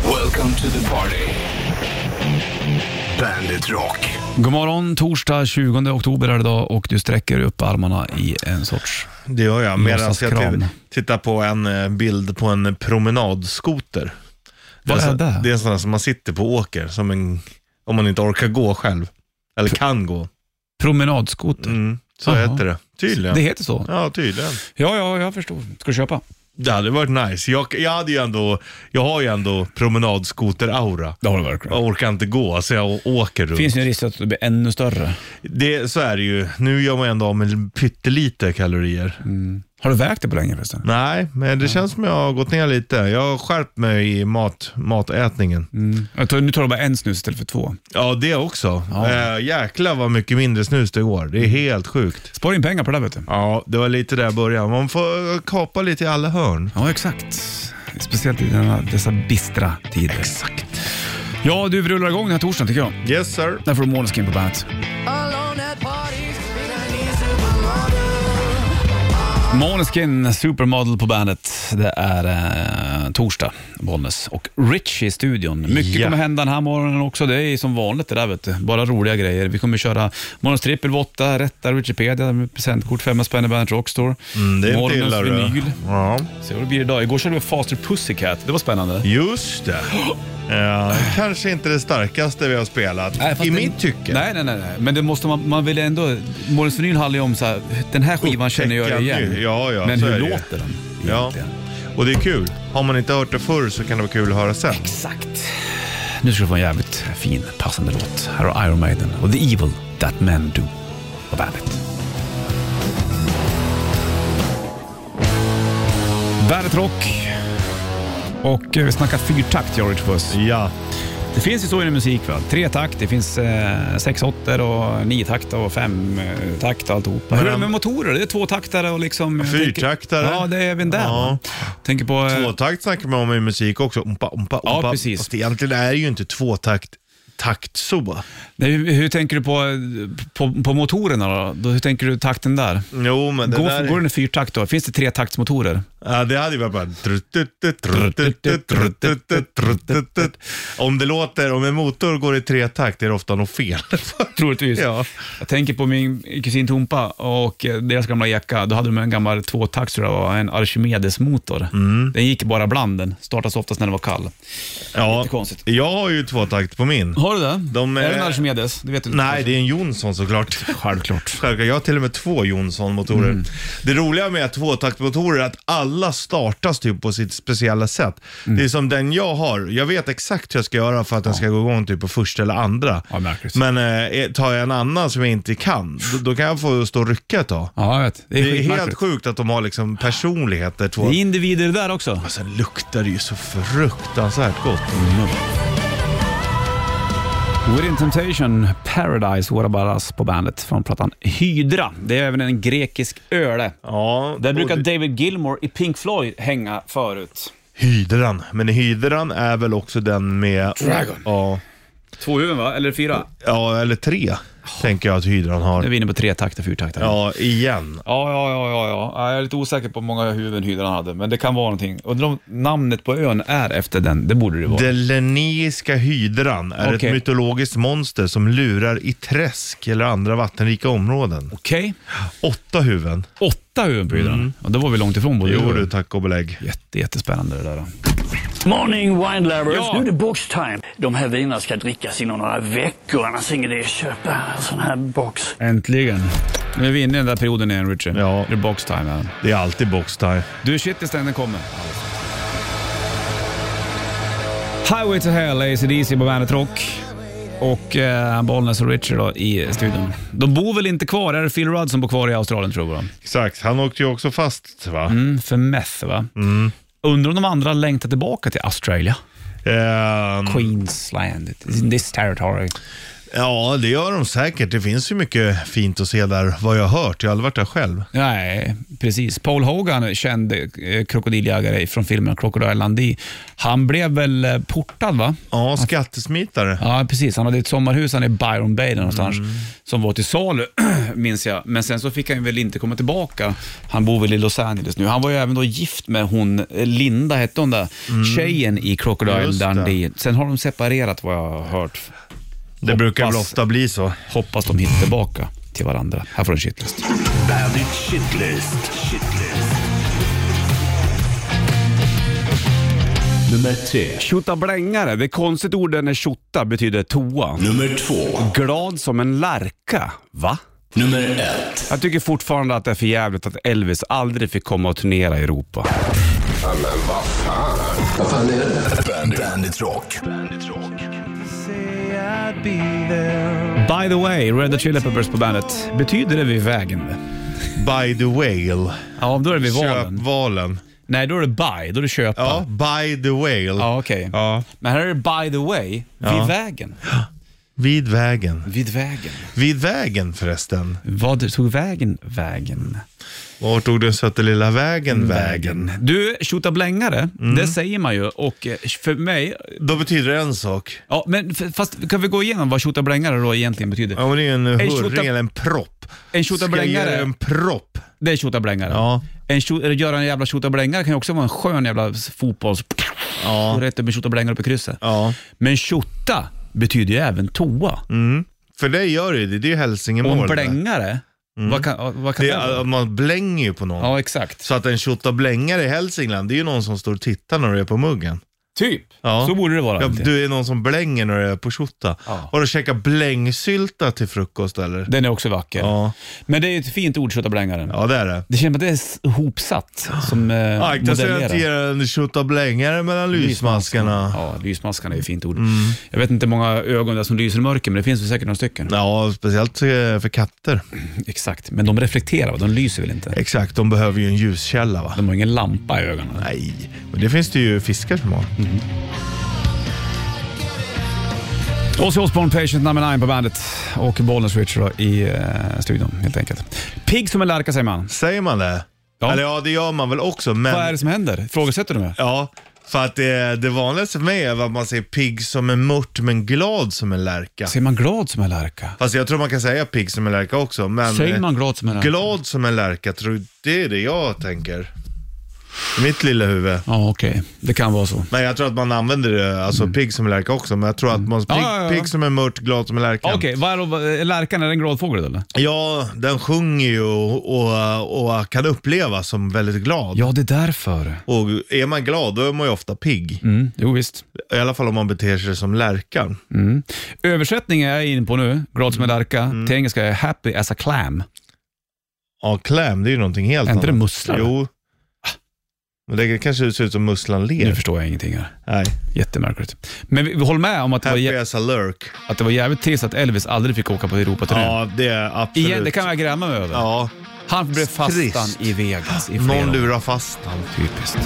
Welcome to the party. Bandit Rock. God morgon, torsdag 20 oktober är det idag och du sträcker upp armarna i en sorts... Det gör jag. Medan jag Låtsaskram. t- tittar på en eh, bild på en promenadskoter. Vad en är sån- det? Det är en sån där som man sitter på och åker, som en, om man inte orkar gå själv. Eller kan gå. Promenadskoter. Mm, så Jaha. heter det. Tydligen. Det heter så? Ja, tydligen. Ja, ja, jag förstår. Ska du köpa? Det hade varit nice. Jag, jag, hade ju ändå, jag har ju ändå promenadskoter-aura. Det har du verkligen. Jag orkar inte gå, så jag å- åker runt. Det finns ju en risk att det blir ännu större. Det, så är det ju. Nu gör man ändå av med pyttelite kalorier. Har du vägt det på länge förresten? Nej, men det känns som jag har gått ner lite. Jag har skärpt mig i mat, matätningen. Jag tror, nu tar du bara en snus istället för två. Ja, det också. Ja. Eh, jäklar vad mycket mindre snus det går. Det är helt sjukt. Spara in pengar på det där vet du. Ja, det var lite där i början. Man får eh, kapa lite i alla hörn. Ja, exakt. Speciellt i denna, dessa bistra tider. Exakt. Ja, du vi rullar igång den här torsdagen tycker jag. Yes sir. Där får du Måneskin på bandet. Måneskin, Supermodel på bandet. Det är eh, torsdag, Bollnäs och Richie i studion. Mycket Ja. kommer hända den här morgonen också. Det är ju som vanligt det där vet du. Bara roliga grejer. Vi kommer köra morgons trippel vid åtta, rätta Wikipedia med presentkort, femma spänn i Bandet Rockstore. Mm, det är inte Morgonens illa vinyl. du. Ja, Se vad det blir idag. Igår körde vi Faster Pussycat. Det var spännande. just det. Eh, kanske inte det starkaste vi har spelat. I mitt tycke. Nej, nej, nej, nej. Men det måste man, man vill ändå... Morgons vinyl handlar ju om så här, den här skivan känner jag Upptäcka igen. ny- ja, ja, Men så hur är det ju. låter den Ja. egentligen? Och det är kul. Har man inte hört det förr så kan det vara kul att höra sen. Exakt. Nu ska du få en jävligt fin, passande låt. Här har Iron Maiden och The Evil That Men Do på bandet. Bandet Rock. Och eh, vi snackar fyrtakt, George Puss. Ja. Det finns ju så inom musik. Va? Tre takt, det finns eh, sex åttor och nio takt och fem eh, takt och alltihopa. Hur är det med motorer? Det är tvåtaktare och liksom... jag tänker- Fyrtaktare. Ja, det är även där. Ja. va? Tänker på... eh, Tvåtakt snackar man om i musik också. Ompa, ompa, Ja, ompa. precis. Fast egentligen är det ju inte tvåtakt takt så. Nej, hur, hur tänker du på, på, på motorerna då? då? Hur tänker du takten där? Jo, men det Går, där... går den i fyrtakt då? Finns det tretaktsmotorer? Ja, det hade ju varit bara... Om det låter, om en motor går i tretakt är det ofta något fel. Troligtvis. Ja. Jag tänker på min kusin Tompa och eh, deras gamla jacka. Då hade de en gammal tvåtakts, tror jag, det var, en Archimedes-motor. Mm. Den gick bara bland den. Startades oftast när den var kall. Ja, Jättekonstigt. jag har ju tvåtakt på min. Har du det? De är är- det en Archimedes? Det vet du Nej, det är en Jonsson såklart. Självklart. Självklart. Jag har till och med två Jonsson-motorer. Mm. Det roliga med tvåtaktmotorer är att alla startas typ på sitt speciella sätt. Mm. Det är som den jag har. Jag vet exakt hur jag ska göra för att den ska gå igång typ på första eller andra. Ja, märkligt. Men eh, tar jag en annan som jag inte kan, då, då kan jag få stå och rycka ett tag. Ja, jag vet. Det är, Det är helt skitmärkligt. sjukt att de har liksom personligheter. Två. Det är individer det där också. Sen luktar det ju så fruktansvärt gott. Mm. Within Temptation, Paradise, What About Us på bandet från plattan Hydra. Det är även en grekisk öle. Ja, Där brukar och det- David Gilmore i Pink Floyd hänga förut. Hydran. Men hydran är väl också den med... Dragon. Ja, Två huvuden va? Eller fyra? ja eller tre, tänker jag att hydran har. Nu är vi inne på tre takter, fyrtaktare. Ja, igen. Ja, ja, ja, ja, ja. Jag är lite osäker på hur många huvuden hydran hade, men det kan vara någonting. Undrar om namnet på ön är efter den. Det borde det vara. Den leneiska hydran är Okej. ett mytologiskt monster som lurar i träsk eller andra vattenrika områden. Okej. Åtta huvuden. Åtta huvuden på hydran. Ja, Mm. det var vi långt ifrån både Jo du, tack och belägg. Jätte, jättespännande det där. Då. Morning wine lovers, Ja. nu är det box time. De här vinerna ska drickas inom några veckor, annars är ingen idé att köpa en sån här box. Äntligen. Nu är vi inne i den där perioden igen, Richard. Ja. Det är box time. Här. Det är alltid boxtime. Du, shitlisten den kommer. Highway to Hell, ACDC på Bandet Rock. Och eh, Bollnäs och Richard då, i studion. De bor väl inte kvar? Är det Phil Rudd som bor kvar i Australien tror jag? Exakt, han åkte ju också fast va? Mm, för meth va? Undrar om de andra längtar tillbaka till Australia? Ehm, Queensland, it's in this territory. Ja, det gör de säkert. Det finns ju mycket fint att se där, vad jag har hört. Jag har aldrig varit där själv. Nej, precis. Paul Hogan, känd eh, krokodiljägare från filmen Crocodile Dundee, han blev väl eh, portad va? Ja, skattesmitare. Ja, precis. Han hade ett sommarhus han i Byron Bay där någonstans Mm. som var till salu, minns jag. Men sen så fick han väl inte komma tillbaka. Han bor väl i Los Angeles nu. Han var ju även då gift med hon, eh, Linda hette hon där, tjejen i Crocodile Mm. Just det. Dundee. Sen har de separerat vad jag har hört. Det brukar väl Hoppas- ofta bli så. Hoppas de hittar tillbaka till varandra. Här får du en shitlist. Bandit Shitlist. Shitlist. Nummer tre. Tjota blängare, det är konstigt ord när tjota betyder toa. Nummer två. Glad som en lärka, va? Nummer ett. Jag tycker fortfarande att det är för jävligt att Elvis aldrig fick komma och turnera i Europa. Bandit, Bandit Rock. By the way, Red Hot Chili Peppers på bandet. Betyder det vid vägen? By the whale. Ja, då är det vid Köp valen. valen. Nej, då är det by, då är det köpa. Ja, Ja, by the whale. okej. Ja. Men här är det by the way, vid Ja. vägen. Vid vägen. Vid vägen. Vid vägen förresten. Vad tog vägen vägen? Vart tog den söta lilla vägen vägen? Du, tjotablängare, Mm. det säger man ju och eh, för mig... Då betyder det en sak. Ja, men f- fast kan vi gå igenom vad tjotablängare då egentligen betyder? Ja, men det är ju en hurring tjota- eller en propp. En Ska jag tjotablängare- ge dig en propp? Det är tjotablängare. Ja. En tjo, eller göra en jävla tjotablängare kan ju också vara en skön jävla fotbolls... Ja. Och rätt upp en tjotablängare upp i krysset. Ja. Men tjotta betyder ju även toa. Mm. För det gör det ju det. Det är ju Och en hälsingemål. det. blängare, vad kan, vad kan Mm. Det det är, vara? man blänger ju på någon. Ja, exakt. Så att en tjotablängare i Hälsingland, det är ju någon som står och tittar när du är på muggen. Typ. Ja. Så borde det vara. Ja, du är någon som blänger när du är på tjotta. Ja. Har du käkat blängsylta till frukost eller? Den är också vacker. Ja. Men det är ett fint ord, tjotablängaren. ja, det är det. Det känns som att det är s- hopsatt som eh, Akta sig att ge modellerar. en tjotablängare mellan lysmaskarna. Mm. Ja, lysmaskarna är ett fint ord. Jag vet inte hur många ögon där som lyser i mörker, men det finns väl säkert några stycken. Ja, speciellt eh, för katter. Exakt, men de reflekterar, va? de lyser väl inte? Exakt, de behöver ju en ljuskälla va? De har ingen lampa i ögonen. Nej, men det finns det ju fiskar som har. Ozzy Osbourne, Patient number 9 på bandet och Bollnäs Richard då i eh, studion helt enkelt. Pigg som en lärka säger man. Säger man det? Ja. Eller ja, det gör man väl också, men... Vad är det som händer? Frågesätter du mig? Ja, för att eh, det, det vanligaste för mig är att man säger pigg som en mört men glad som en lärka. Ser man glad som en lärka? Fast jag tror man kan säga pigg som en lärka också, men... Säger eh, man glad som en lärka? Glad som en lärka, tror det är det jag tänker. I mitt lilla huvud. Ja, okej. Det kan vara så. Men jag tror att man använder det, alltså Mm. pigg som en lärka också, men jag tror att man pigg, ja, ja. pigg som en mört, glad som en lärka. Okej, vad är då, vad- är lärkan, är det en grådfågel eller? Ja, den sjunger ju och, och, och kan upplevas som väldigt glad. Ja, det är därför. Och är man glad, då är man ju ofta pigg. Mm, jo, visst. I alla fall om man beter sig som lärkan. Översättningen jag är inne på nu, glad som en lärka, Mm. till engelska är happy as a clam. Ja, kläm, det är ju någonting helt Är annat. inte det musslan? Jo. Men det kanske ser ut som musslan Nu ler. förstår jag ingenting här. Nej. Jättemärkligt. Men vi, vi håller med om att det, var, Happy jä- as a lurk. att det var jävligt trist att Elvis aldrig fick åka på Europaturnén. Ja, det är absolut. Igen, det kan jag gräma mig över. Ja, Han blev Trist. fastan i Vegas i flera någon år. lurar fast han. Typiskt.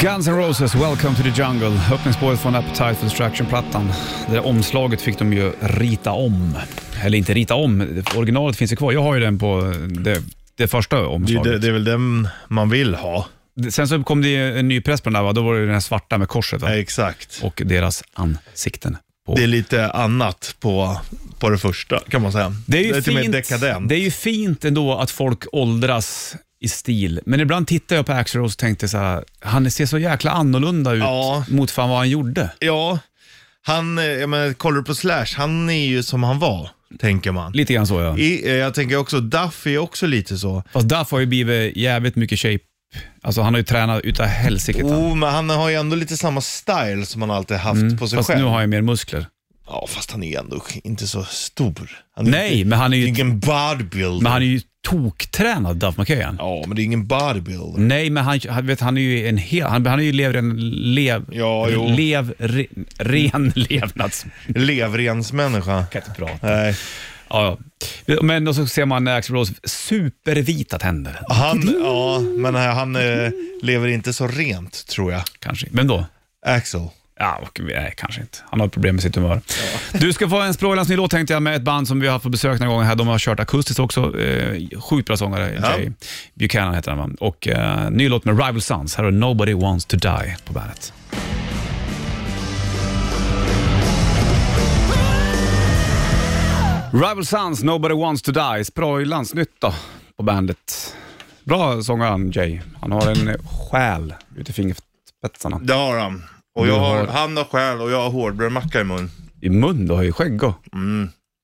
Guns N' Roses, Welcome to the Jungle. Öppningsspåret från Appetite for Destruction-plattan. Det där omslaget fick de ju rita om. Eller inte rita om, originalet finns ju kvar. Jag har ju den på eh, det, det första Det, är- omslaget. det, det är väl den man vill ha. Sen så kom det ju en ny press på den där, va? då var det ju den här svarta med korset va? Ja, exakt. och deras ansikten. På. Det är lite annat på, på det första kan man säga. Det är ju lite mer fint, dekadent. Det är ju fint ändå att folk åldras i stil. Men ibland tittar jag på Axl Rose och tänkte så här, han ser så jäkla annorlunda ut Ja. mot fan vad han gjorde. Ja, han, eh, jag menar, kollar du på Slash, han är ju som han var, tänker man. Lite grann så ja. I, eh, jag tänker också, Duff är också lite så. Fast Duff har ju blivit jävligt mycket shape. Alltså han har ju tränat utav helsike. han. Oh, men han har ju ändå lite samma style som han alltid haft på sig Mm, Fast själv. nu har jag mer muskler. Ja, fast han är ändå inte så stor. Han är Nej, inte, men han är ju- det ingen bodybuilder. Men han är ju tokktränad Duff McKagan. Ja, men det är ingen bodybuilder. Nej, men han, han, vet, han är ju en hel... Han, han är ju lever en lev... Ja, jo. lev re, ren levnads... Levrensmänniska. Jag kan inte prata. Nej. Ja, ja. Men och så ser man Axl Rose supervita tänder. Han, ja, men han eh, lever inte så rent tror jag. Kanske. Vem då? Axel. Ja, och, nej, kanske inte. Han har ett problem med sitt humör. Du ska få en språlans ny låt tänkte jag med ett band som vi har haft på besök några gånger här. De har kört akustiskt också. Eh, sjukt bra sångare. Ja. Jay Buchanan heter han va? Och eh, ny låt med Rival Sons. Här har Nobody Wants To Die på bandet. Rival Sons, Nobody Wants To Die. Sproilans nytt då på bandet. Bra sångaren Jay. Han har en eh, själ ute i fingerspetsarna. Det har han. Och jag Du har, har- han har själ och jag har hårdbrödmacka i mun. I mun, du har ju skägg och.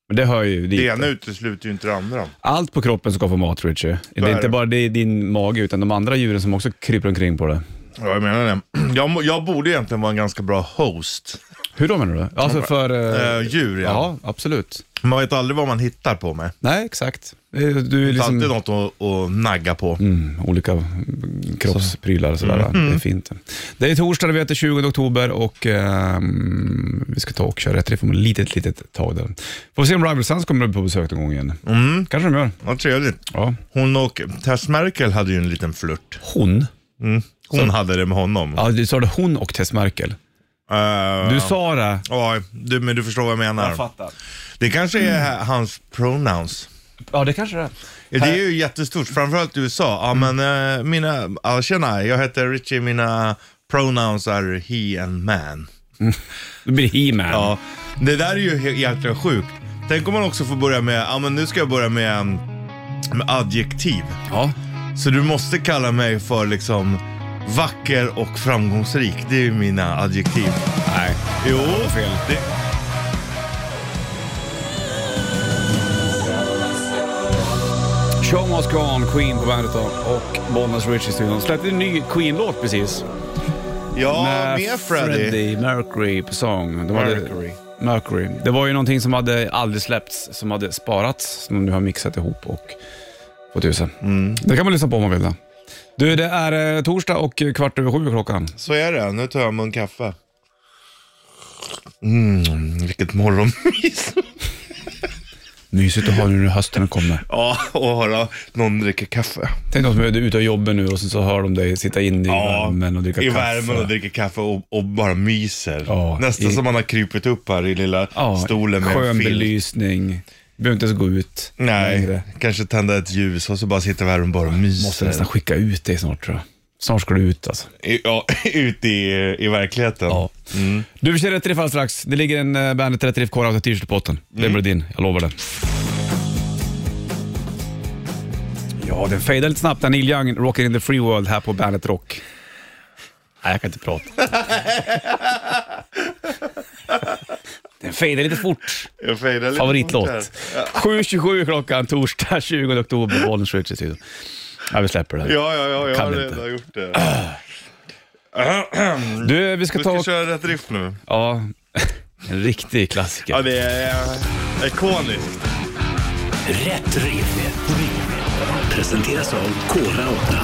Men det hör ju dit. Mm. Det ena utesluter ju inte det andra. Allt på kroppen ska få mat, Richie. Det är är inte det. bara det, din mage, utan de andra djuren som också kryper omkring på det. Ja, jag menar det. Jag, må- jag borde egentligen vara en ganska bra host. Hur då menar du? Alltså för... eh, Eh, djur, ja. ja, absolut. Man vet aldrig vad man hittar på mig. Nej, exakt. Eh, Du är Det är alltid liksom något att, att nagga på. mm, olika mm, kroppsprylar och sådär. Mm. Det är fint. Det är torsdag, vi heter 20 oktober och ehm, vi ska ta och köra rätt riff om ett litet, litet tag. Där. Får vi se om Rival Sons kommer upp på besök någon gång igen. Mm. Kanske de gör. Vad trevligt. Ja. Hon och Tess Merkel hade ju en liten flört. Mm. Hon? Hon hade det med honom. Ja, du sa det hon och Tess Merkel. Eh, Du sa det. Ja, du, men du förstår vad jag menar. fattar. Mm. det kanske är hans pronouns. Ja, det kanske det är. Det är ju jättestort, framförallt i USA. Ja, Mm. men eh, mina, ja, tjena, jag heter Richie, mina pronouns är he and man. Det blir He-Man. Ja, det där är ju he- egentligen sjukt. Tänk om man också får börja med, ja men nu ska jag börja med, mm, med adjektiv. Ja. Så du måste kalla mig för liksom vacker och framgångsrik. Det är ju mina adjektiv. Nej. Jo, fel. Det... Show must go on, Queen på bandet då. Och Bollnäs Rich i studion. Släppte en ny Queen-låt precis. Ja, med, Freddy. Mercury på sång. De hade- Mercury. Mercury. Det var ju någonting som hade aldrig släppts, som hade sparats, som de nu har mixat ihop och fått husen. Mm. Det kan man lyssna på om man vill. Då. Du, det är eh, torsdag och eh, kvart över sju är klockan. Så är det, nu tar jag en mun kaffe. Mm, vilket morgonmys. Mysigt att ha nu när hösten kommer. ja, och höra någon dricka kaffe. Tänk de som är ute och jobbar nu och sen så hör de dig sitta inne i värmen och dricka i kaffe. värmen och dricka kaffe och, och bara myser. Ja, Nästan i- som man har krypit upp här i lilla Ja, stolen med en skön filt. belysning. Behöver inte ens gå ut Nej, längre. kanske tända ett ljus och så bara sitter vi här och bara myser. Måste nästan skicka ut dig snart tror jag. Snart ska du ut alltså. I- Ja, ut i, i verkligheten. Ja. Mm. Du, vi kör Rätt Riff alldeles strax. Det ligger en eh, Bandet Rätt Riff Core Auto t-shirt i potten. Mm. Den blir din, jag lovar det. Ja, den fejdar lite snabbt. där. Neil Young, Rocker in the Free World här på Bandet Rock. Nej, jag kan inte prata. den fejdar lite fort. Jag fejdar lite bort här. Favoritlåt. 7.27 klockan torsdag 20 oktober. Bollnäs Ritchie i studion. Ja, vi släpper det. här. Ja, ja, ja, jag Kan har inte. redan gjort det. Du, vi ska Vi ska ta... köra rätt drift nu. Ja, en riktig klassiker. Ja, det är eh, ikoniskt. Rätt riff. Presenteras av Kora 8.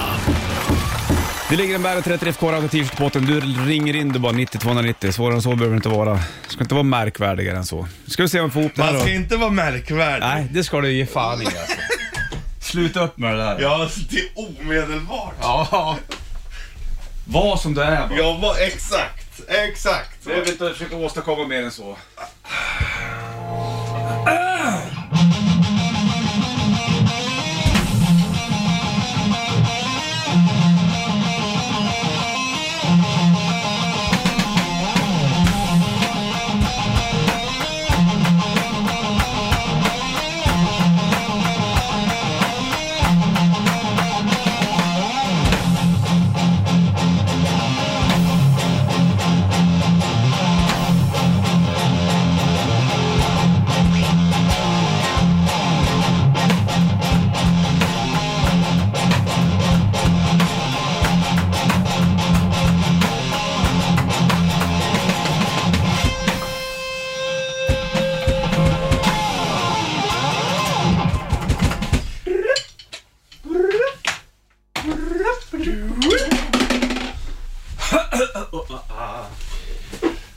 Det ligger en Bandet 30 FK Rauta t-shirt på båten. Du ringer in du bara 90 290. Svårare än så behöver det inte vara. Det ska inte vara märkvärdigare än så. Ska vi se om vi får ihop det här Man då? ska inte vara märkvärdig. Nej, det ska du ge fan i alltså. Sluta upp med det där. Ja, alltså, det är omedelbart. Ja. Var som du är bara. Jag var exakt, exakt. Jag vill inte försöka åstadkomma mer än så.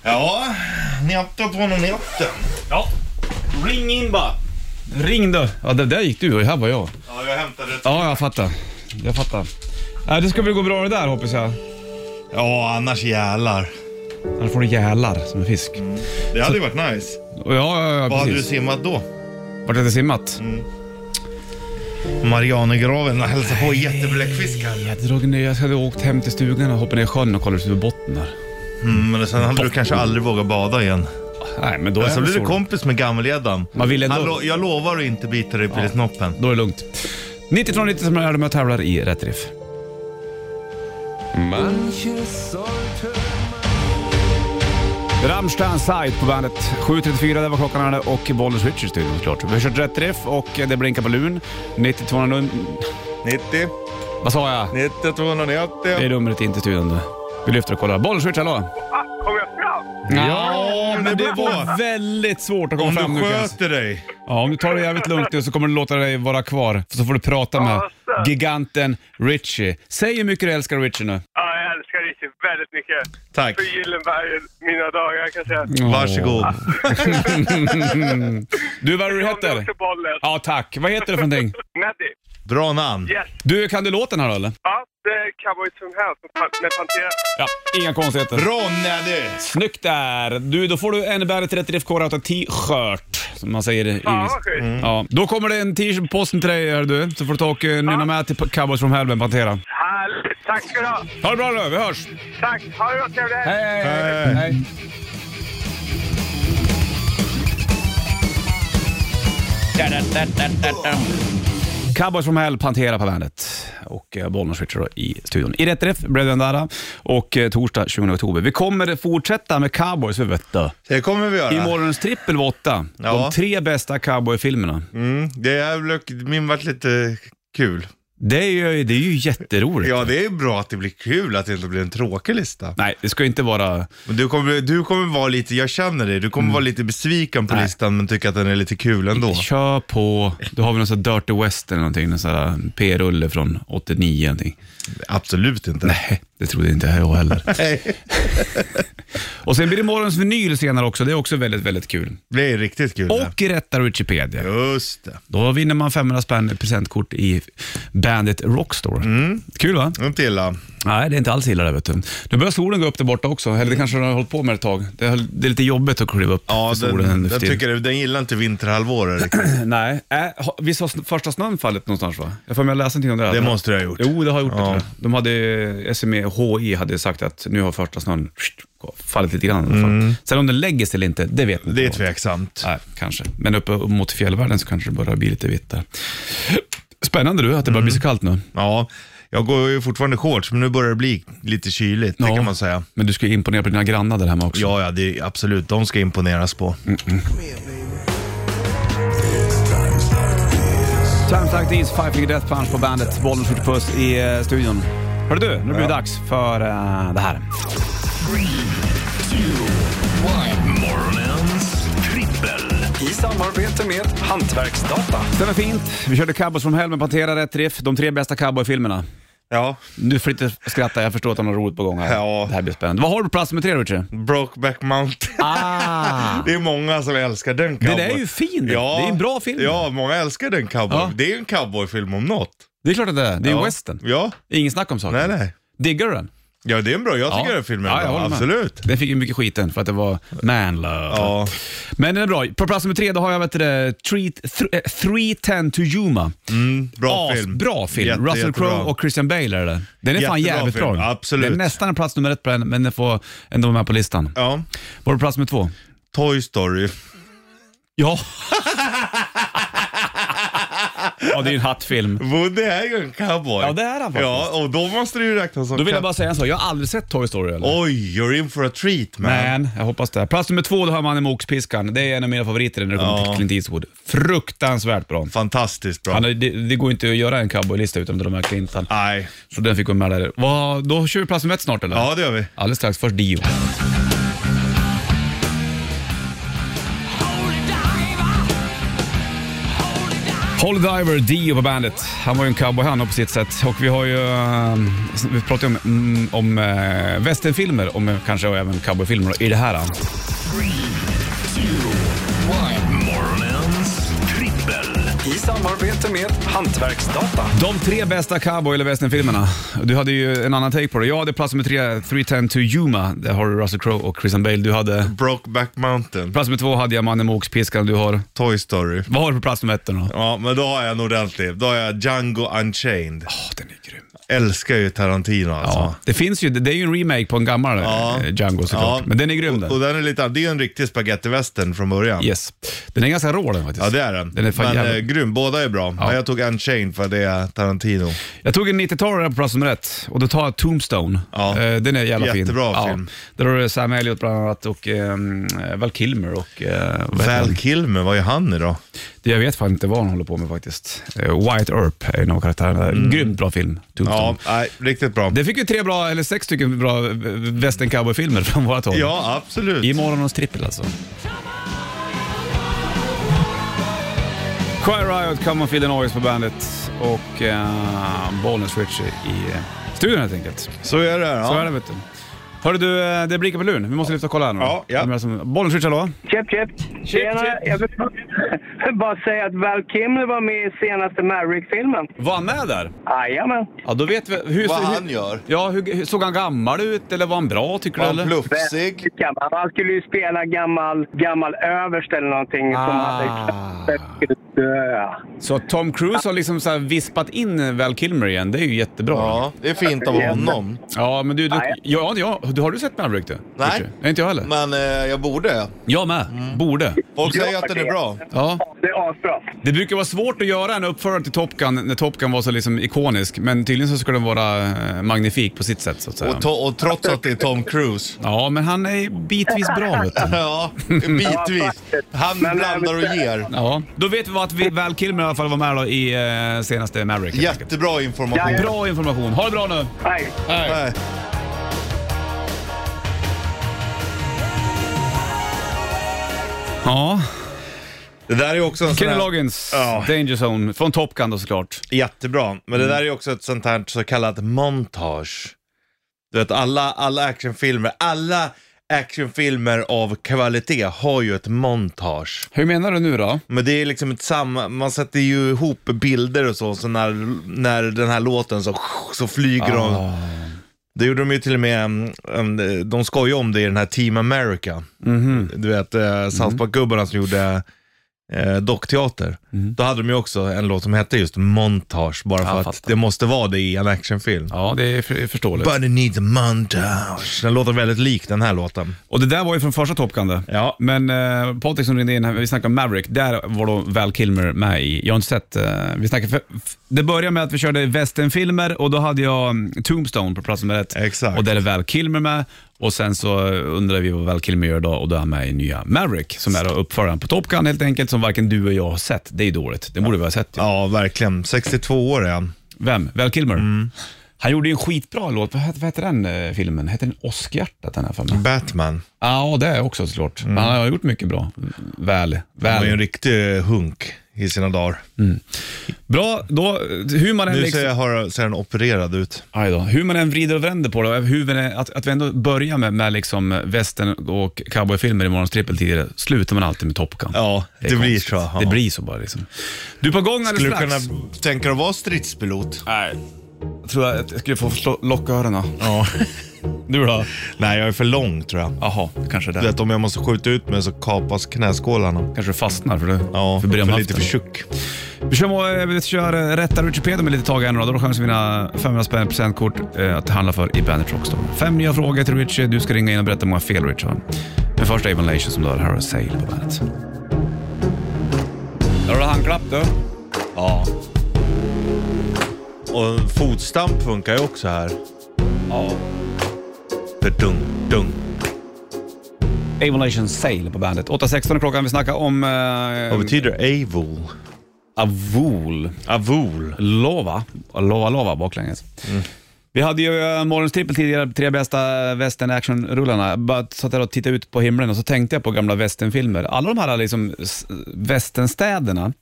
Ja, nätet var nog nätten. Ja. Ring in bara. Ring du. Ja, det där gick du och här var jag. Ja, jag hämtade ett... Ja, jag fattar. Jag fattar. Äh, det ska väl gå bra det där hoppas jag. Ja, annars jävlar. Annars får du gälar som en fisk. Det hade ju varit nice. Ja, ja, ja Vad hade du precis. simmat då? Vart hade jag simmat? Marianergraven och hälsat på jättebläckfiskar. Jag hade dragit ner, jag hade åkt hem till stugan och hoppat ner i sjön och kollat ut över botten där. Mm, men sen hade du kanske aldrig vågat bada igen. Nej, men då är Sen det blev du så. kompis med gammelgäddan. Man vill ändå- Han lo- Jag lovar att inte bita dig i pilsnoppen. Då är det lugnt. 9290 som är de jag tävlar i Rätt Riff. Rammstein Sight på bandet. 7.34 det var klockan hade och Bollnäs Richards studion såklart. Vi har kört Rätt Riff och det blinkar på luren. 9200... 90, Vad sa jag? 90, 290. Det är numret in till studion. du. Vi lyfter och kollar. Bollnäs Richards, hallå? Ja, men det var väldigt svårt att komma Om fram nu du kan jag säga. sköter dig. Ja, om du tar det jävligt lugnt nu så kommer du låta dig vara kvar. För så får du prata med giganten Richie. Säg hur mycket du älskar Richie nu. Ja, jag älskar Richie väldigt mycket. Tack. För Gyllenberg, mina dagar kan jag säga. Mm. Varsågod. Du, vad du Kom nu heter? också bollen. Ja, tack. Vad heter du för någonting? Neddy. Bra namn. Yes. Du, kan du låten här då eller? Ja, det är cowboy som helst med Pantera. Ja, inga konstigheter. Bra Neddy! Snyggt där! Du, då får du en Bandet 30 FK Rauta t-shirt, som man säger i Fan vad schysst. Ja. Då kommer det en t-shirt på posten till dig, gör du. Så får du ta och eh, nynna med till Cowboys from Hell med Pantera. Härligt. Tack ska du ha. Ha det bra nu, vi hörs! Tack. Ha det bra. Trevlig helg. Hej, hej, hej. Cowboys from Hell, Pantera på bandet och eh, Bollnäs Richard då i studion. I rätt träff, Bredden Dara och eh, torsdag 20 oktober. Vi kommer fortsätta med cowboys, vi vet du. Det kommer vi I göra. morgons trippel var åtta. Äh. Ja. De tre bästa cowboyfilmerna. Mm, det är, väl- min vart lite kul. Det är ju, det är ju jätteroligt. Ja, det är bra att det blir kul, att det inte blir en tråkig lista. Nej, det ska inte vara... Men du kommer, du kommer vara lite, jag känner dig, du kommer vara lite besviken på Mm. Nej. listan men tycka att den är lite kul ändå. Kör på... Då har vi någon sån här Dirty West eller någonting. Någon sån här P-rulle från 89 eller någonting. Absolut inte. Nej, det trodde inte jag heller. Nej. Och sen blir det morgons vinyl senare också. Det är också väldigt, väldigt kul. Det är riktigt kul. det. Och rätta Wikipedia. Just det. Då vinner man 500 spänn i presentkort i Bandit Rockstore. Mm. Kul va? Inte illa. Nej, det är inte alls illa det vet du. Nu börjar solen gå upp där borta också. Eller det kanske den har hållit på med ett tag. Det är, det är lite jobbigt att kliva upp Ja, för solen den, nu för jag tiden. tycker det, den gillar inte vinterhalvåret riktigt. Nej, äh, ha- visst har sn- första snön fallit någonstans va? Jag får med att läsa någonting om det. här. Det måste du ha gjort. Jo, det har jag gjort. Ja. det tror jag. De hade, E SMHI hade sagt att nu har första snön pst, fallit lite grann. i alla fall. Sen om den lägger sig eller inte, det vet man Mm. Det är inte. tveksamt. Nej, kanske. Men uppe mot fjällvärlden så kanske det börjar bli lite vitt där. Spännande du, att det börjar Mm. bli så kallt nu. Ja, jag går ju fortfarande i shorts men nu börjar det bli lite kyligt, det Ja. kan man säga. Men du ska ju imponera på dina grannar där hemma också. Ja, ja, det är, absolut. De ska imponeras på. Times like these, Five Finger Death Punch på bandet. Bollen skjuter puss i eh, studion. Hör du, nu blir det dags för eh, det här. Morgonens trippel. I samarbete med Hantverksdata. Stämmer fint. Vi körde Cowboys from Hell med Pantera, Rätt Riff, de tre bästa cowboyfilmerna. Ja, Du får inte skratta, jag förstår att de har roligt på gång här. Ja. Det här blir spännande. Vad har du på plats nummer tre, Richie? Brokeback Mountain. Ah! Det är många som älskar den Den cowboy. är ju fin. Det är en bra film. Ja, många älskar den cowboy. Ja. Det är en cowboyfilm om något. Det är klart att det är. Det är ju ja. western. Ja, Ingen snack om saken. nej nej. Diggar du den? Ja, det är en bra. Jag tycker den filmen är jag bra. håller med. Absolut. Den fick ju mycket skiten för att det var man love. Ja. Men den är bra. På plats nummer tre, då har jag vet du, det, Treat- Th- eh, 310 to Yuma. Bra As- film. Bra film. Jätte- Russell jättebra. Crowe och Christian Bale är det. Den är fan Jättebra jävligt film, bra. absolut. Den är nästan en plats nummer ett på den, men den får ändå vara med på listan. Ja. Var det plats nummer två? Toy Story. Ja. ja, det är ju en hattfilm. Woody är ju en cowboy. Ja, det är han faktiskt. Ja, och då måste du ju räkna som Då vill jag cow- bara säga en sak. Jag har aldrig sett Toy Story. Eller? Oj, you're in for a treat man. Men jag hoppas det. Plats nummer två, då har man en Oxpiskan. Det är en av mina favoriter när det kommer Ja. till Clint Eastwood. Fruktansvärt bra. Fantastiskt bra. Han, har- det, det går inte att göra en cowboylista utan de här Clintan. Nej. Så den fick gå med där. Vad, då kör vi plats nummer ett snart eller? Ja, det gör vi. Alldeles strax. Först Dio. Holy Diver, Dio på bandet. Han var ju en cowboy han på sitt sätt. Och vi har ju, eh, vi pratade ju om, mm, om eh, westernfilmer, om eh, kanske även cowboyfilmer i det här. eh. Morgonens trippel. i samarbete med Hantverksdata. De tre bästa cowboy eller westernfilmerna. Du hade ju en annan take på det. Jag hade plats nummer tre, 310 to Yuma. Där har du Russell Crowe och Christian Bale. Du hade... Brokeback Mountain, Plats nummer två hade jag Mannen med oxpiskan. Du har... Toy Story. Vad har du på plats nummer ett då? Ja, Ja, men då har jag en ordentlig. Då har jag Django Unchained. den är grym. Älskar ju Tarantino alltså. Ja. Det finns ju, det är ju en remake på en gammal Ja. eh, Django såklart. Ja. Men den är grym Och, och den. den är lite, det är ju en riktig spagettivästern från början. Yes. Den är ganska rå den faktiskt. Ja det är den. Den är fan men jävla- eh, grym, båda är bra. Men jag tog Unchained för det är Tarantino. Jag tog en 90-talare på plats nummer ett och då tar jag Tombstone. Ja. Eh, Den är jävla fin. Jättebra Ja. film. Där har du Sam Elliot bland annat och ehm, Val Kilmer och... Eh, vad heter han? Val Kilmer, vad är han idag? Det jag vet fan inte vad han håller på med faktiskt. Eh, White Earp är en av karaktärerna. där. Grymt bra film. Mm. Ja, Tombstone. nej, riktigt bra. Det fick ju tre bra, eller sex stycken bra eh, western cowboy-filmer från vårat håll. Ja, absolut. I morgonens trippel alltså. Cry Riot, Come and Feel the Noise på bandet och eh, Bollnäs Richie i eh, studion helt enkelt. Så är det. Så är Ja. det vet du. Hörru du, eh, det är blinkar på luren. Vi måste lyfta och kolla här nu. Ja, ja. Vem är det som- Bollnäs Richie, hallå? Chip, chip. Tjena. Jag vill bara- bara säga att Val Kilmer var med i senaste Maverick-filmen. Var han med där? Jajamän. Ja, då vet vi. Hur, Vad hur- han gör. Ja, hur, hur, såg han gammal ut eller var han bra tycker Var han du? Eller? plufsig? Gammal. Han skulle ju spela gammal, gammal överste eller någonting som Ah. hade skulle dö. Så Tom Cruise har liksom så här vispat in Val Kilmer igen. Det är ju jättebra. Ja, Ja, det är fint av honom. men du, du, Nej. ja, ja, du, har du sett Maverick du? Nej. Richie? Nej, inte jag heller. Men Mm. eh, jag borde. Jag med. Borde. Folk säger att den är bra. Ja. Det är asbra. Det brukar vara svårt att göra en uppförare till Top Gun när Top Gun var så liksom ikonisk, men tydligen så ska den vara eh, magnifik på sitt sätt så att säga. Och, to- och trots att det är Tom Cruise. Ja, men han är bitvis bra vet du. Ja, bitvis. Han Men, blandar och eh, ger. Ja, då vet vi vad att vi- Val Kilmer i alla fall var med då i eh, senaste Maverick. helt enkelt. Jättebra information. Bra information. Ha det bra nu. Nej. Nej. Ja, Det där är också en sån Kenny här... Loggins, Ja. Danger Zone, från Top Gun då såklart. Jättebra. Men det där är också ett sånt här så kallat montage. Du vet, alla, alla actionfilmer, alla actionfilmer av kvalitet har ju ett montage. Hur menar du nu då? Men det är liksom ett samma, man sätter ju ihop bilder och så, så när, när den här låten så, så flyger de. Ah. Det gjorde de ju till och med, mm, mm, de skojade om det i den här Team America. Mhm. Du vet, eh, South Park-gubbarna som gjorde eh, dockteater. Mhm. Då hade de ju också en låt som hette just Montage, bara för att fattar. det måste vara det i en actionfilm. Ja, det är för- förståeligt. But it needs a montage. Den låter väldigt lik den här låten. Och det där var ju från första Top Gun det. Ja. Men eh, Patrik som ringde in här, vi snackade om Maverick, där var då Val Kilmer med i. Jag har inte sett, eh, vi snackade, för, f- det började med att vi körde westernfilmer och då hade jag mm, Tombstone på plats nummer ett. Exakt. Och där är Val Kilmer med. Och sen så undrar vi vad Val Kilmer gör då och då är han med i nya Maverick som är då uppföraren på Top Gun helt enkelt som varken du och jag har sett. Det är dåligt, det borde vi ha sett. ju. Ja, verkligen. 62 år är han. Vem? Val Kilmer? Mm. Han gjorde ju en skitbra låt, vad hette, vad hette den eh, filmen? Hette den Oscarhjärtat den här för Mm. mig? Batman. Ja, det är också såklart. Men han har gjort mycket bra. Väl. Han Mm. var ju en väl. riktig hunk i sina dagar. Bra, då, hur man än Nu liksom, ser, jag, har, ser han opererad ut. Aj då. hur man än vrider och vänder på det, hur vi än- att, att vi ändå börjar med, med liksom västern och cowboyfilmer i morgons trippeltider, slutar man alltid med Top Gun. Ja, det, är blir konstigt. så. Ja. Det blir så bara liksom. Du är på gång alldeles Skulle du strax. kunna tänka dig att vara stridspilot? Nej. Jag tror jag, jag skulle få slå, locka öronen. Ja. Du då? Nej, jag är för lång tror jag. Jaha, kanske det. Du vet, om jag måste skjuta ut mig så kapas knäskålarna. Kanske du fastnar för du Ja, för bredden för av lite för höften. tjock. Vi kör, eh, vi kör eh, rätta Wikipedia med lite tag här nu då. Då chansar vi vinna 500 spänn presentkort eh, att handla för i Bandet Rockstore. Fem nya frågor till Richie. Du ska ringa in och berätta hur många fel Richie har. Men först Avon Lation som du hör här och Sale på bandet. Har du handklapp du? Ja. Och fotstamp funkar ju också här. Ja. För dung, dung. Avon Lation Sale på bandet. 8.16 är klockan. Vi snackar om... Vad Eh, betyder avol? Avol. Avol. Lova. Lova, lova baklänges. Mm. Vi hade ju eh, morgons trippel tidigare, tre bästa western action-rullarna. Bara satt där och tittade ut på himlen och så tänkte jag på gamla westernfilmer. Alla de här liksom s- Mm. westernstäderna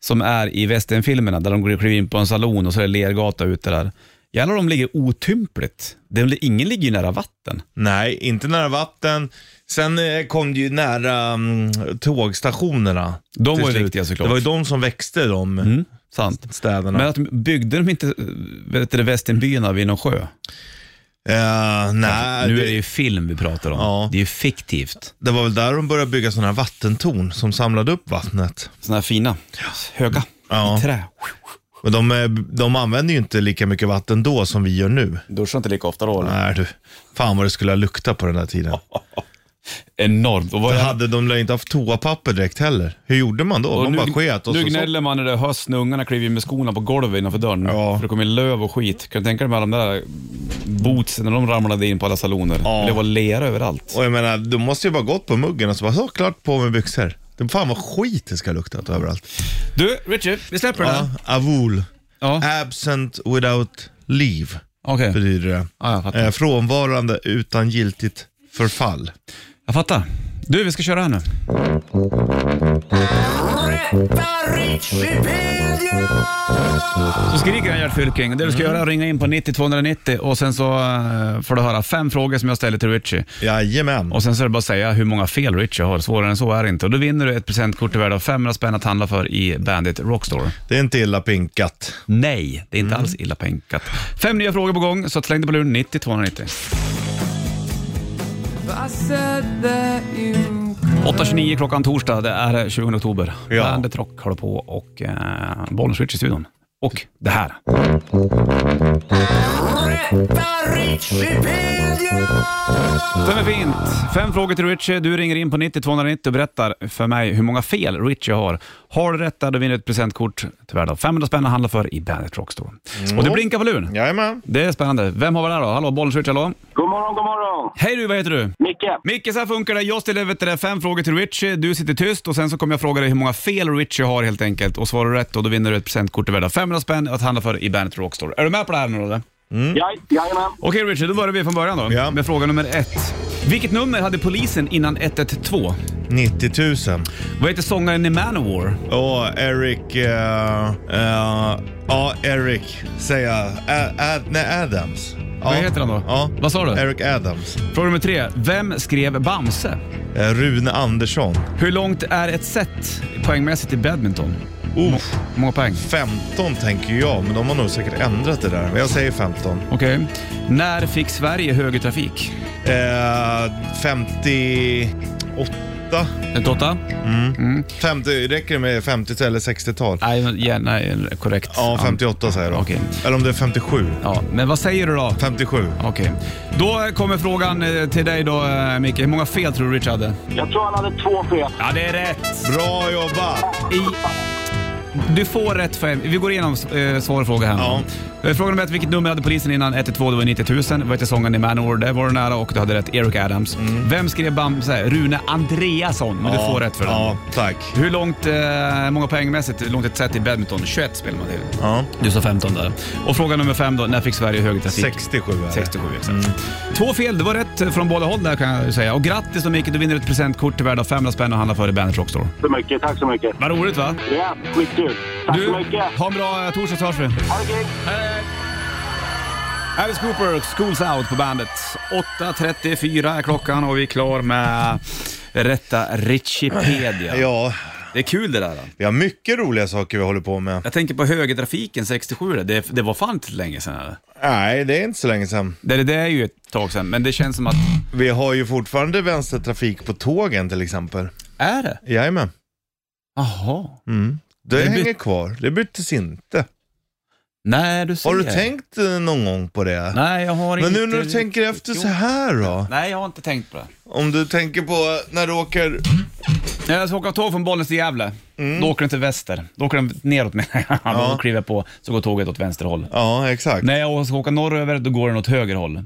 som är i westernfilmerna, där de går- kliver in på en salon och så är det lergata ute där. Jävlar de ligger otympligt. De, ingen ligger ju nära vatten. Nej, inte nära vatten. Sen eh, kom det ju nära mm, tågstationerna. De till var ju slut. viktiga såklart. Det var ju de som växte de Sant. städerna. Men att de byggde de inte vet du, Västernbyarna vid någon sjö? Eh, nej, nu det, är det ju film vi pratar om. Ja. Det är ju fiktivt. det var väl där de började bygga sådana här vattentorn som samlade upp vattnet. Sådana här fina, höga, Ja. i trä. Men de, eh, de använde ju inte lika mycket vatten då som vi gör nu. Duschar inte lika ofta då? Nej du, fan vad det skulle ha luktat på den här tiden. Enormt. Och, vad Då jag- hade de lär inte haft toapapper direkt heller. Hur gjorde man då? man bara sket och nu så, så. gnäller man när det är höst när ungarna kliver in med skorna på golvet innanför dörren. Ja. För det kommer in löv och skit. Kan du tänka dig med alla de där bootsen när de ramlade in på alla saloner? Det var lera överallt. Och jag menar, de måste ju bara gått på muggen och så bara, så klart på med byxor. Det fan vad skit det ska ha luktat överallt. Du, Richard, vi släpper den Ja, avul. Ja. Absent without leave Okej, betyder det. Ja, jag fattar. Eh, frånvarande utan giltigt förfall. jag fattar. Du, vi ska köra här nu. Så skriker han Gert Fylking. Det du Mm. ska göra är att ringa in på 90 290 och sen så eh, får du höra fem frågor som jag ställer till Richie. Jajamän. Och sen så är det bara att säga hur många fel Richie har. Svårare än så är det inte. Och då vinner du ett presentkort i värde av 500 spänn att handla för i Bandit Rockstore. Det är inte illa pinkat. Nej, det är inte alls illa penkat. Fem nya frågor på gång, så att släng dig på luren 90 290. 8.29 klockan torsdag, det är 20 oktober. Ja. Bandet Rock håller på och eh, Bollnäs Richie i studion. Och det här. Det är fint. Fem frågor till Richie. Du ringer in på 90 290 och berättar för mig hur många fel Richie har. Har du rätt där, då vinner du ett presentkort till värde av 500 spänn att handla för i Bandet Rockstore. Och det blinkar på luren. Jajamän. Det är spännande. Vem har vi där då? Hallå, Bollnäs Richie, hallå? God morgon, god morgon! Hej du, vad heter du? Micke! Micke, så här funkar det. Jag ställer vet du, det, fem frågor till Richie, du sitter tyst och sen så kommer jag fråga dig hur många fel Richie har helt enkelt. Och svarar du rätt då, då vinner du ett presentkort värda 500 spänn att handla för i Bandet Rockstore. Är du med på det här nu då, eller? Ja, jajamän! Okej Richie, då börjar vi från början då. Mm. Ja. Med fråga nummer ett. Vilket nummer hade polisen innan 112? 90 000. Vad heter sångaren i Manowar? Åh, Eric... eh, eh, Ja, Eric säger jag. Ä- Ä- nej, Adams. Ja. Vad heter han då? Ja. Vad sa du? Eric Adams. Fråga nummer tre. Vem skrev Bamse? Eh, Rune Andersson. Hur långt är ett set poängmässigt i badminton? Uff, Hur många poäng? 15 tänker jag, men de har nog säkert ändrat det där. Men jag säger 15. Okej. När fick Sverige högertrafik? Eh, 58? 58? 50, räcker det med 50 eller 60-tal? Nej, men- ja, nej, korrekt. Ja, 58 säger jag då. Ah. Okej. Eller om det är 57. Ja, men vad säger du då? 57. Okej. Då kommer frågan eh, till dig då, eh, Micke. Hur många fel tror du Rich hade? Jag tror han hade två fel. Ja, det är rätt. Bra jobbat! I... Du får rätt för en. Vi går igenom eh, svår fråga här nu. Eh, Fråga nummer ett. Vilket nummer hade polisen innan 112? Det var 90 000. Vad hette sången i Manowar? Där var du nära och du hade rätt. Eric Adams. Vem skrev Bamse? Rune Andreasson. Men du får rätt för den. Mm. Ja, tack. Hur långt, eh, många poängmässigt, hur långt ett set i badminton? 21 spelar man till. Ja. Du sa 15 där. Och fråga nummer fem då, när fick Sverige högertrafik? 67 är det. 67 exakt. Mm. Två fel, det var rätt från båda håll där kan jag ju säga. Och grattis då Micke, du vinner ett presentkort till värde av 500 spänn och handlar för i Bandet Rockstore. Så mycket, tack så mycket. Vad roligt va? Ja, skitkul. Tack Du, så mycket. ha en bra eh, torsdag så hörs vi. Ha det kul. Alice Cooper, Schools Out på bandet. 8.34 är klockan och vi är klar med Rätta Richipedia. Ja, Det är kul det där. Då. vi har mycket roliga saker vi håller på med. Jag tänker på högertrafiken 67, det, det var fan inte länge sedan. Eller? Nej, det är inte så länge sedan. Det, det, det är ju ett tag sedan, men det känns som att... Vi har ju fortfarande vänstertrafik på tågen till exempel. Är det? Jajamän. Jaha. Det, Det by- hänger kvar. Det byttes inte. Nej, du ser. Har du tänkt eh, någon gång på det? Nej, jag har Men inte... nu när du tänker efter så här då? Nej, jag har inte tänkt på det. Om du tänker på eh, när du åker... När jag ska åka tåg från Bollnäs till Gävle, Mm. då åker den till väster. Då åker den neråt menar jag. Då kliver jag på, så går tåget åt vänster håll. Ja, exakt. När jag ska åka norröver, då går den åt höger håll.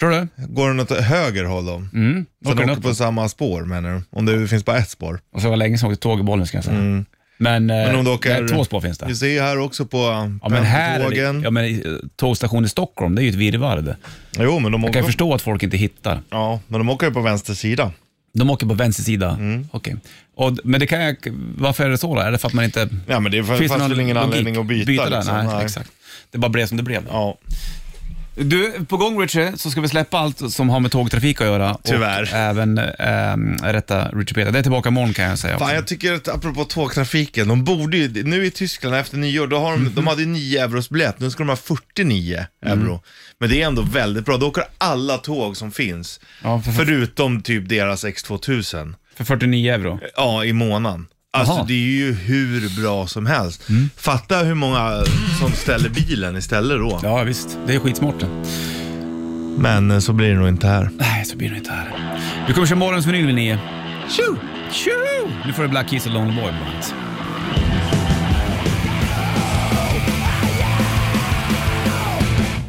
Förstår du? Går den åt höger håll då? Mm. Då Sen åker den åker upp. på samma spår menar du? Om det finns bara ett spår. Och så var det länge sedan jag åkte tåg i Bollnäs kan jag säga. Mm. Men, eh, Men om du åker- nej, två spår finns det. Vi ser ju här också på Ja men, här är det, pendeltågen. ja, men i- eh, tågstation i Stockholm, det är ju ett virrvarr det. Jo, men de Jag kan åker... förstå att folk inte hittar. Ja, men de åker ju på vänster sida. De åker på vänster sida? Mm. Okej. Och, men det kan jag, varför är det så då? Är det för att man inte... Ja, men det fanns Finns väl någon ingen logik? anledning att byta, där? liksom. Nej, Nej. exakt. Det bara blev som det blev. då. Ja. Du, på gång Richie, så ska vi släppa allt som har med tågtrafik att göra. Tyvärr. Och även ehm, rätta Richie Peter. Det är tillbaka imorgon kan jag säga. också. Fan, jag tycker att apropå tågtrafiken, de borde ju, nu i Tyskland efter nyår, då har Mhm. de, de hade ju 9 euros biljett, nu ska de ha 49 Mm. euro. Men det är ändå väldigt bra, då åker alla tåg som finns. Ja, för- Förutom typ deras X2000, För 49 euro. ja i månaden. Alltså Jaha. Mm. det är ju hur bra som helst. Fatta hur många som ställer bilen istället då. Ja, visst. Det är skitsmart. det. Men eh, så blir det nog inte här. Nej, så blir det inte här. Vi kommer köra morgons vinyl vid nio. Tjo! Tjo! Nu får du Black Keys och Lonely Boy på bandet.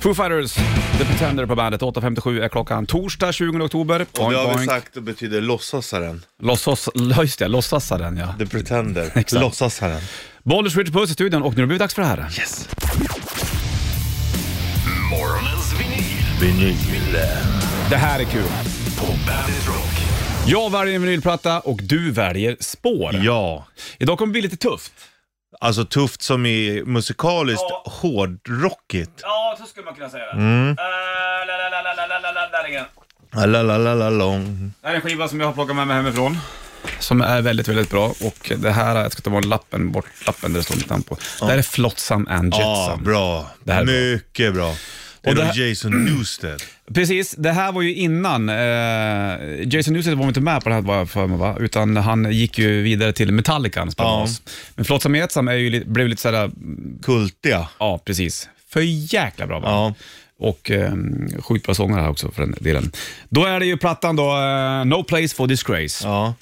Foo Fighters, The Pretender på bandet. 8.57 är klockan. Torsdag 20 oktober. Och det Boing, har vi boing. sagt det betyder låtsasaren. Låtsas, just det, låtsasaren ja. The pretender. Exakt. låtsasaren. Bollers Richard Puss i studion och nu har det blivit dags för det här. Yes. Morgonens vinyl. Det här är kul. På Bandit Rock. Jag väljer en vinylplatta och du väljer spår. Ja. Idag kommer det bli lite tufft. Alltså tufft som i musikaliskt Ja. hårdrockigt. Ja, så skulle man kunna säga det. Eh, Alalalalong. Det här är en skiva som jag har plockat med mig hemifrån. Som är väldigt, väldigt bra. Och det här, jag ska ta bort lappen, bort lappen där det står mitt namn på. Det här är Flotsam and Jetsam. Ja, bra. Det här är bra. Mycket bra. Det är Och det då här- Jason Newsted. Precis, det här var ju innan. Eh, Jason Newsted var inte med på det här, var jag för mig, va? utan han gick ju vidare till Metallica, han spelade Ja. med oss. Men Flotsam and Jetsam är ju, li- blev lite sådär, Kultiga. ja precis, för jäkla bra band. Ja. Och eh, sjukt bra sångare här också för den delen. Då är det ju plattan då, eh, No Place for Disgrace. ja.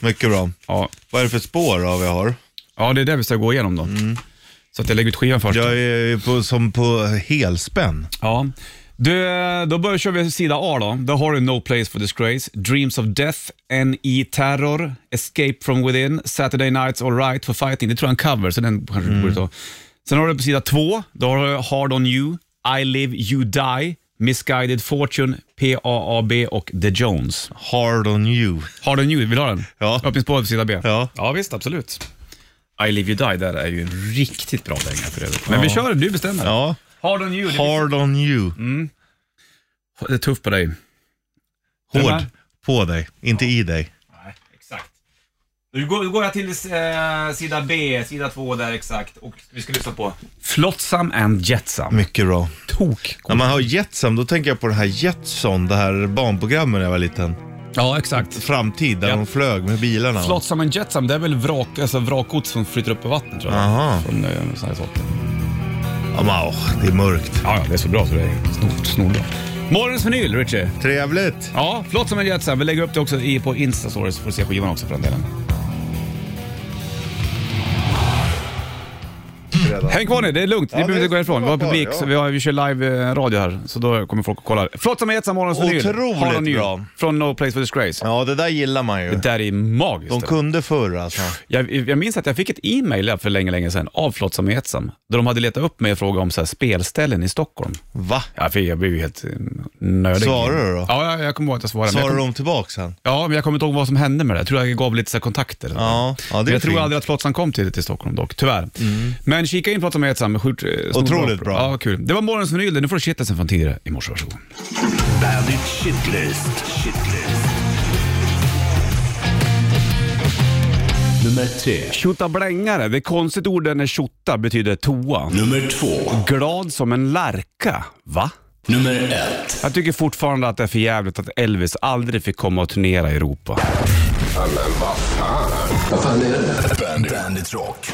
Mycket bra. Ja. Vad är det för spår då vi har? ja, det är det vi ska gå igenom då. Mm. Så att jag lägger ut skivan först. Jag är ju på, som på helspänn. Ja. Du, då börjar kör vi sida A då. Där har du No Place for Disgrace, Dreams of Death, NE Terror, Escape from Within, Saturday Nights All Right for Fighting. Det tror jag är en cover, så den kanske du borde ta. Sen har du på sida två, då har du Hard On You, I Live You Die, Misguided Fortune, PAAB och The Jones. Hard on you. Hard On You, vill du ha den? Ja. Öppningsspåret på sida B. Ja. ja, visst absolut. I Live You Die där är ju en riktigt bra dänga för övrigt. Men vi kör, du bestämmer. Ja. Mm. Hard On You, det är, Hard on you. det är tufft på dig. Den Hård. här? På dig. Inte i dig. Nej, exakt. Nu går, nu går jag till eh, sida B, sida 2 där exakt. Och vi ska lyssna på Flotsam and Jetsam. Mycket bra. Tok. När man har Jetsam, då tänker jag på den här Jetson, det här barnprogrammet när jag var liten. Ja, exakt. Framtid, där Ja. de flög med bilarna. Flotsam and Jetsam, det är väl vrak, alltså vrakgods som flyter upp på vattnet tror jag. Aha. Från eh, såna här saker. Ja, men, åh, det är mörkt. Ja, ja, det är så bra så det är snor- snorbra. Morgons vinyl, Richie. Trevligt. Ja, Flotsam and Jetsam. Vi lägger upp det också i, på Insta Stories så får du se skivan också för den delen. Häng kvar nu, det är lugnt. Ni Ja, behöver det inte gå härifrån. Vi har står kvar, publik, ja. så vi, har, vi kör live eh, radio här. Så då kommer folk och kollar. Förlåt som jag gett morgonens vinyl. Otroligt Har de ny. bra. Från No Place for Disgrace. Ja, det där gillar man ju. Det där är magiskt. De kunde förr alltså. Jag, jag minns att jag fick ett e-mail här för länge, länge sedan av Flotsam och Jetsam. Där de hade letat upp mig och frågat om så här, spelställen i Stockholm. Va? Jag, fick, jag blev ju helt eh, nödig. Svarade du då? Ja, jag, jag kommer ihåg att jag svarade. men jag Svarar kom, de tillbaka sen? ja, men jag kommer inte ihåg vad som hände med det. Jag tror jag gav lite så här, kontakter. Ja, ja Men det är jag tror fint. Mm. aldrig att Flotsam kom till, till Stockholm dock, tyvärr. Men kika in Flotsam och Jetsam. med Sjukt, eh, stor Otroligt bra. Ja, kul. Det var morgonens vinyl. Nu får du shitlisten från tidigare i morse. Varsågod. Bandit Shitlist. Shitlist. Nummer tre. Tjotta blängare. Det är konstigt ord när tjotta betyder toa. Nummer två. Glad som en lärka. Va? Nummer ett. Jag tycker fortfarande att det är för jävligt att Elvis aldrig fick komma och turnera i Europa. Bandit, Bandit Rock.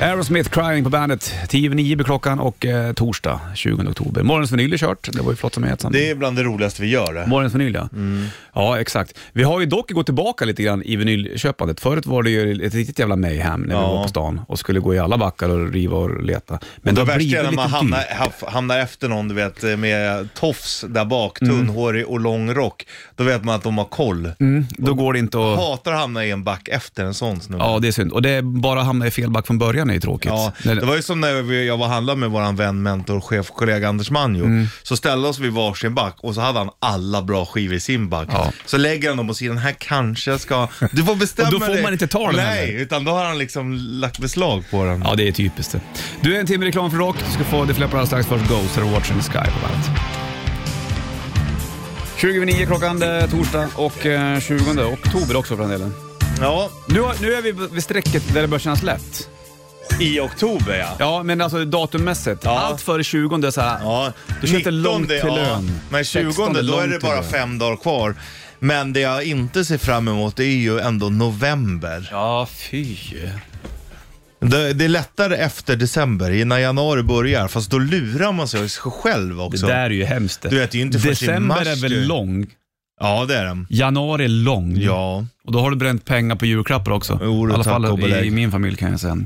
Aerosmith Crying på bandet. 10 över 9 blir klockan och eh, torsdag 20 oktober. Morgonens vinyl är kört. Det var ju Flotsam och Jetsam. Det är bland det roligaste vi gör. det. Morgonens vinyl ja. Mm. Ja, exakt. Vi har ju dock gått tillbaka lite grann i vinylköpandet. Förut var det ju ett riktigt jävla mayhem när vi Ja. var på stan och skulle gå i alla backar och riva och leta. Men Men det det har blivit värsta är när lite man hamnar... hamnar, dyrt. haf- hamnar efter någon du vet, med tofs där bak, Mm. tunnhårig och lång rock. Då vet man att de har koll. Då går det inte att... Hatar att hamna i en back efter en sån snubbe. Ja, det är synd. Och det är bara att hamna i fel back från början början är ju tråkigt. Ja, När- det var ju som när vi- jag var och handlade med vår vän, mentor, chef, kollega Anders Manjo. Mm. Så ställde oss vid varsin back och så hade han alla bra skivor i sin back. Så lägger han dem och säger den här kanske ska... Du får bestämma Och då får dig. man inte ta den Nej, heller. utan då har han liksom lagt beslag på den. Ja, det är typiskt det. Du, en timme reklam för rock. Du ska få The Flapper alldeles strax. Först Ghost och Watch in the Sky på bandet. 29 klockan det är torsdag och eh, 20 oktober också för den delen. Ja, Nu, har- nu är vi vid strecket där det börjar kännas lätt. i oktober ja. Ja, men alltså datummässigt. Ja. Allt före 20 är så här. Ja, Du kör inte 19, långt till ja. lön. Men 20 16 då är långt det till bara lön. fem dagar kvar. Men det jag inte ser fram emot är ju ändå november. Ja, fy. Det, det är lättare efter december, innan januari börjar. Fast då lurar man sig själv Det också. där är ju hemskt. Du vet, det är ju inte först i December mars, är du. väl lång? Ja, det är Mm. den. Januari är lång. Ja. Och då har du bränt pengar på julklappar också. Jo, då, I alla tack och fall i, belägg. i min familj kan jag säga.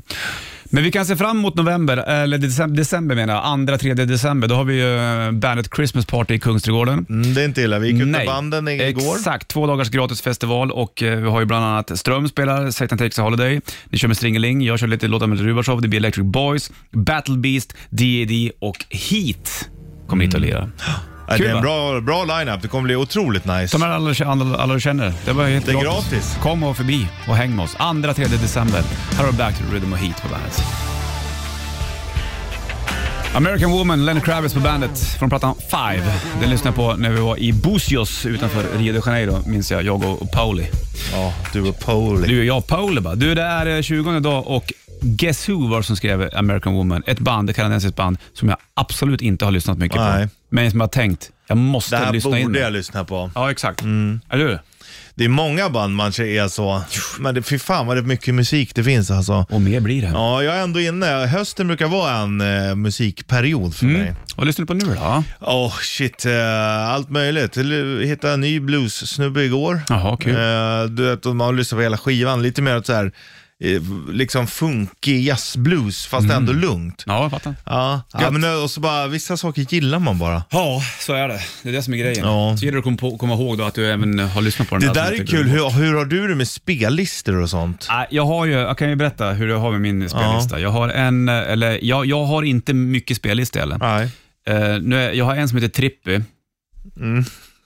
Men vi kan se fram emot november, eller december, december menar jag. Andra, tredje december. Då har vi ju eh, Bandet Christmas Party i Kungsträdgården. Mm, det är inte illa. Vi gick ut med banden igår. Exakt, två dagars gratisfestival och eh, vi har ju bland annat Ström spelar, Satan Takes a Holiday, ni kör med Stringeling, jag kör lite låtar med Rubashov, det blir Electric Boys, Battle Beast, D.A.D. och Heat kommer hit och lirar. Ja, det Kul, är va? en bra, bra line-up. Det kommer bli otroligt nice. Ta med alla, alla, alla du känner. Det var helt Det är gratis. Kom och förbi och häng med oss. 2-3 december. Här har du Back to Rhythm och Heat på bandet. American Woman, Lenny Kravitz på bandet från plattan Five. Den lyssnade jag på när vi var i Bucios utanför Rio de Janeiro, minns jag. Jag och Pauli. Ja, du är Poli. Du och jag, Pauli bara. Du, det är eh, 20 dag och Guess Who var det som skrev American Woman. Ett band, ett kanadensiskt band, som jag absolut inte har lyssnat mycket Nej. på. Men som jag har tänkt, jag Det måste här lyssna in. borde det. jag Mm. lyssna på. Ja, exakt. Eller hur? Det är många band man är så. Men det, fy fan vad det är mycket musik det finns alltså. Och mer blir det. Ja, jag är ändå inne. Hösten brukar vara en eh, musikperiod för Mm. mig. Vad lyssnar du på nu då? Åh shit, eh, allt möjligt. L- Hittade en ny blues-snubbe igår. Jaha, kul. Eh, du vet, och man lyssnar på hela skivan. Lite mer åt så här, eh, liksom funkig jazzblues, fast ändå lugnt. Mm. Ja, jag fattar. Ja, ja Gött. men eh, och så bara, vissa saker gillar man bara. Ja, så är det. Det är det som är grejen. Ja. Så gäller det att komma, på, komma ihåg då att du även har lyssnat på den Det som där jag är tycker kul. om. Hur, hur har du det med spellistor och sånt? Nej, Jag, har ju, jag kan ju berätta hur jag har med min spellista. Jag har en, eh, eller jag, jag har inte mycket spellista heller. Nej. Eh, nu är, jag har en som heter Trippy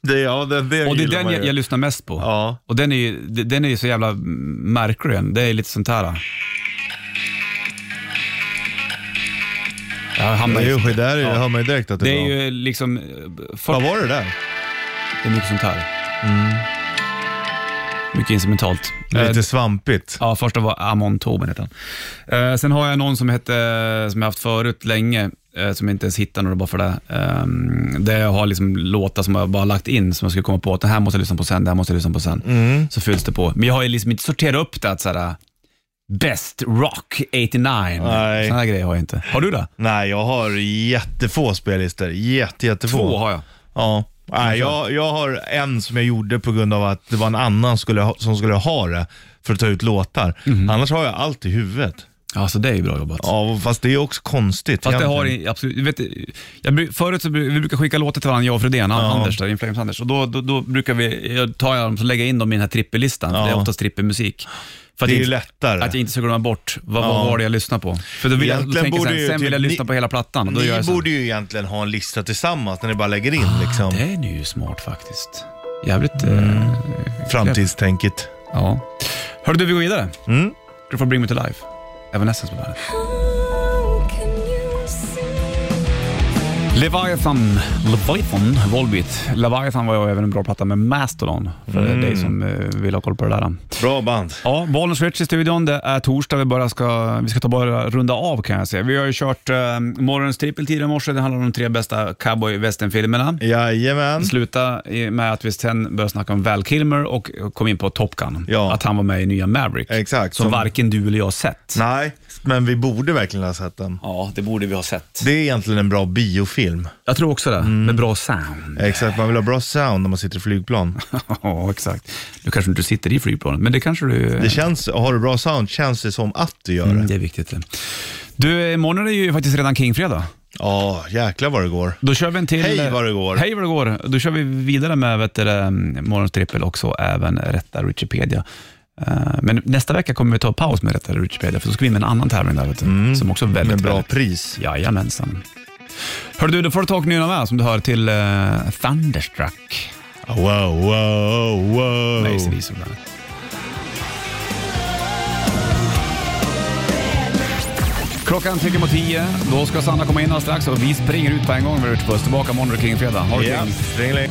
Det, ja, det, det och det är gillar den man jag, ju. jag lyssnar mest på. Ja. Och den är ju den den är ju så jävla mm, märklig. den. Det är lite sånt här. Jag Det hamnar är ju i... skit, där hör man ju direkt att det Det är, är bra. ju liksom... eh, 40 Vad var det där? Det är mycket sånt här. Mm. Mycket instrumentalt. Lite Eh, svampigt. ja, första var Amon Tobin heter han. Eh, sen har jag någon som hette, som jag haft förut länge, eh, som jag inte ens hittar några bara för det. Eh, där jag har liksom låtar som jag bara lagt in, som jag skulle komma på att den här måste jag lyssna på sen, den här måste jag lyssna på sen. Mm. Så fylls det på. Men jag har ju liksom inte sorterat upp det att såhär, Best Rock 89. Nej. Sådana grejer har jag inte. Har du det? Nej, jag har jättefå spellistor. Jätte, jättefå. Två har jag. Ja. Nej, jag, jag har en som jag gjorde på grund av att det var en annan skulle ha, som skulle ha det för att ta ut låtar. Mhm. Annars har jag allt i huvudet. Alltså det är ju bra jobbat. Ja, fast det är också konstigt. Fast det har egentligen. i- absolut, du vet, jag, bru- förut så bru- vi brukar skicka låtar till varandra, jag och Fredén, han- Anders där, In Flames Anders. Och då, då, då brukar vi, jag tar jag dem så lägger jag in dem i den här trippellistan, för det är oftast trippelmusik. För att Det är jag ju inte- lättare. Att jag inte ska glömma bort vad, vad var det jag lyssnade på. För då vill jag, då Egentligen tänker jag borde sen, ju sen vill typ jag ni- lyssna på hela plattan. Och då gör Ni jag så. Ah, borde ju egentligen ha en lista tillsammans när ni bara lägger in liksom, Det är nu ju smart faktiskt. Jävligt... Mm. Eh, framtidstänket. ja. Hörru du, vi går vidare. Mm. Du får Bring Me To Life. Evanescence på bandet. Leviathan, Leviathan, Volbeat. Leviathan var ju även en bra platta med Mastodon, för dig som eh, vill ha koll på det där. Bra band. Ja, Bollnäs Switch i studion. Det är torsdag. Vi, bara ska, vi ska ta bara runda av kan jag säga. Vi har ju kört eh, morgonens trippel tidigare i morse. Det handlar om de tre bästa cowboy western-filmerna. Jajamän. Sluta i- med att vi sen började snacka om Val Kilmer och kom in på Top Gun. Ja. Att han var med i nya Maverick. Exakt. Som, Som- varken du eller jag har sett. Nej, men vi borde verkligen ha sett den. Ja, det borde vi ha sett. Mm. Det är egentligen en bra biofilm. Jag tror också det, med bra sound. Exakt, man vill ha bra sound när man sitter i flygplan. Ja, exakt. Nu kanske inte du sitter i flygplanet, men det kanske du... Det känns, har du bra sound känns det som att du gör det. Mm, det är viktigt. det. Du, eh, imorgon är ju faktiskt redan Kingfredag. Ja, jäklar vad det går. Då kör vi en till... eh, Hej vad det går. Hej vad det eh, går. Då kör vi vidare med vet du, det, morgonstrippel och så även rätta Wikipedia. Eh, Men nästa vecka kommer vi ta paus med Rättare Wikipedia, för då ska vi in med en annan tävling där, vet du, Mm. som också är väldigt Med bra väldigt, pris. Jajamensan. Hör du, då får du ta och nynna med som du hör till eh, Thunderstruck. Wow, wow, wow. med AC/DC bland annat. Klockan trycker mot tio. Då ska Sanna komma in alldeles strax och vi springer ut på en gång. Vi är ute på oss. Tillbaka måndag kring fredag. Ha det Ja, kring. ringling.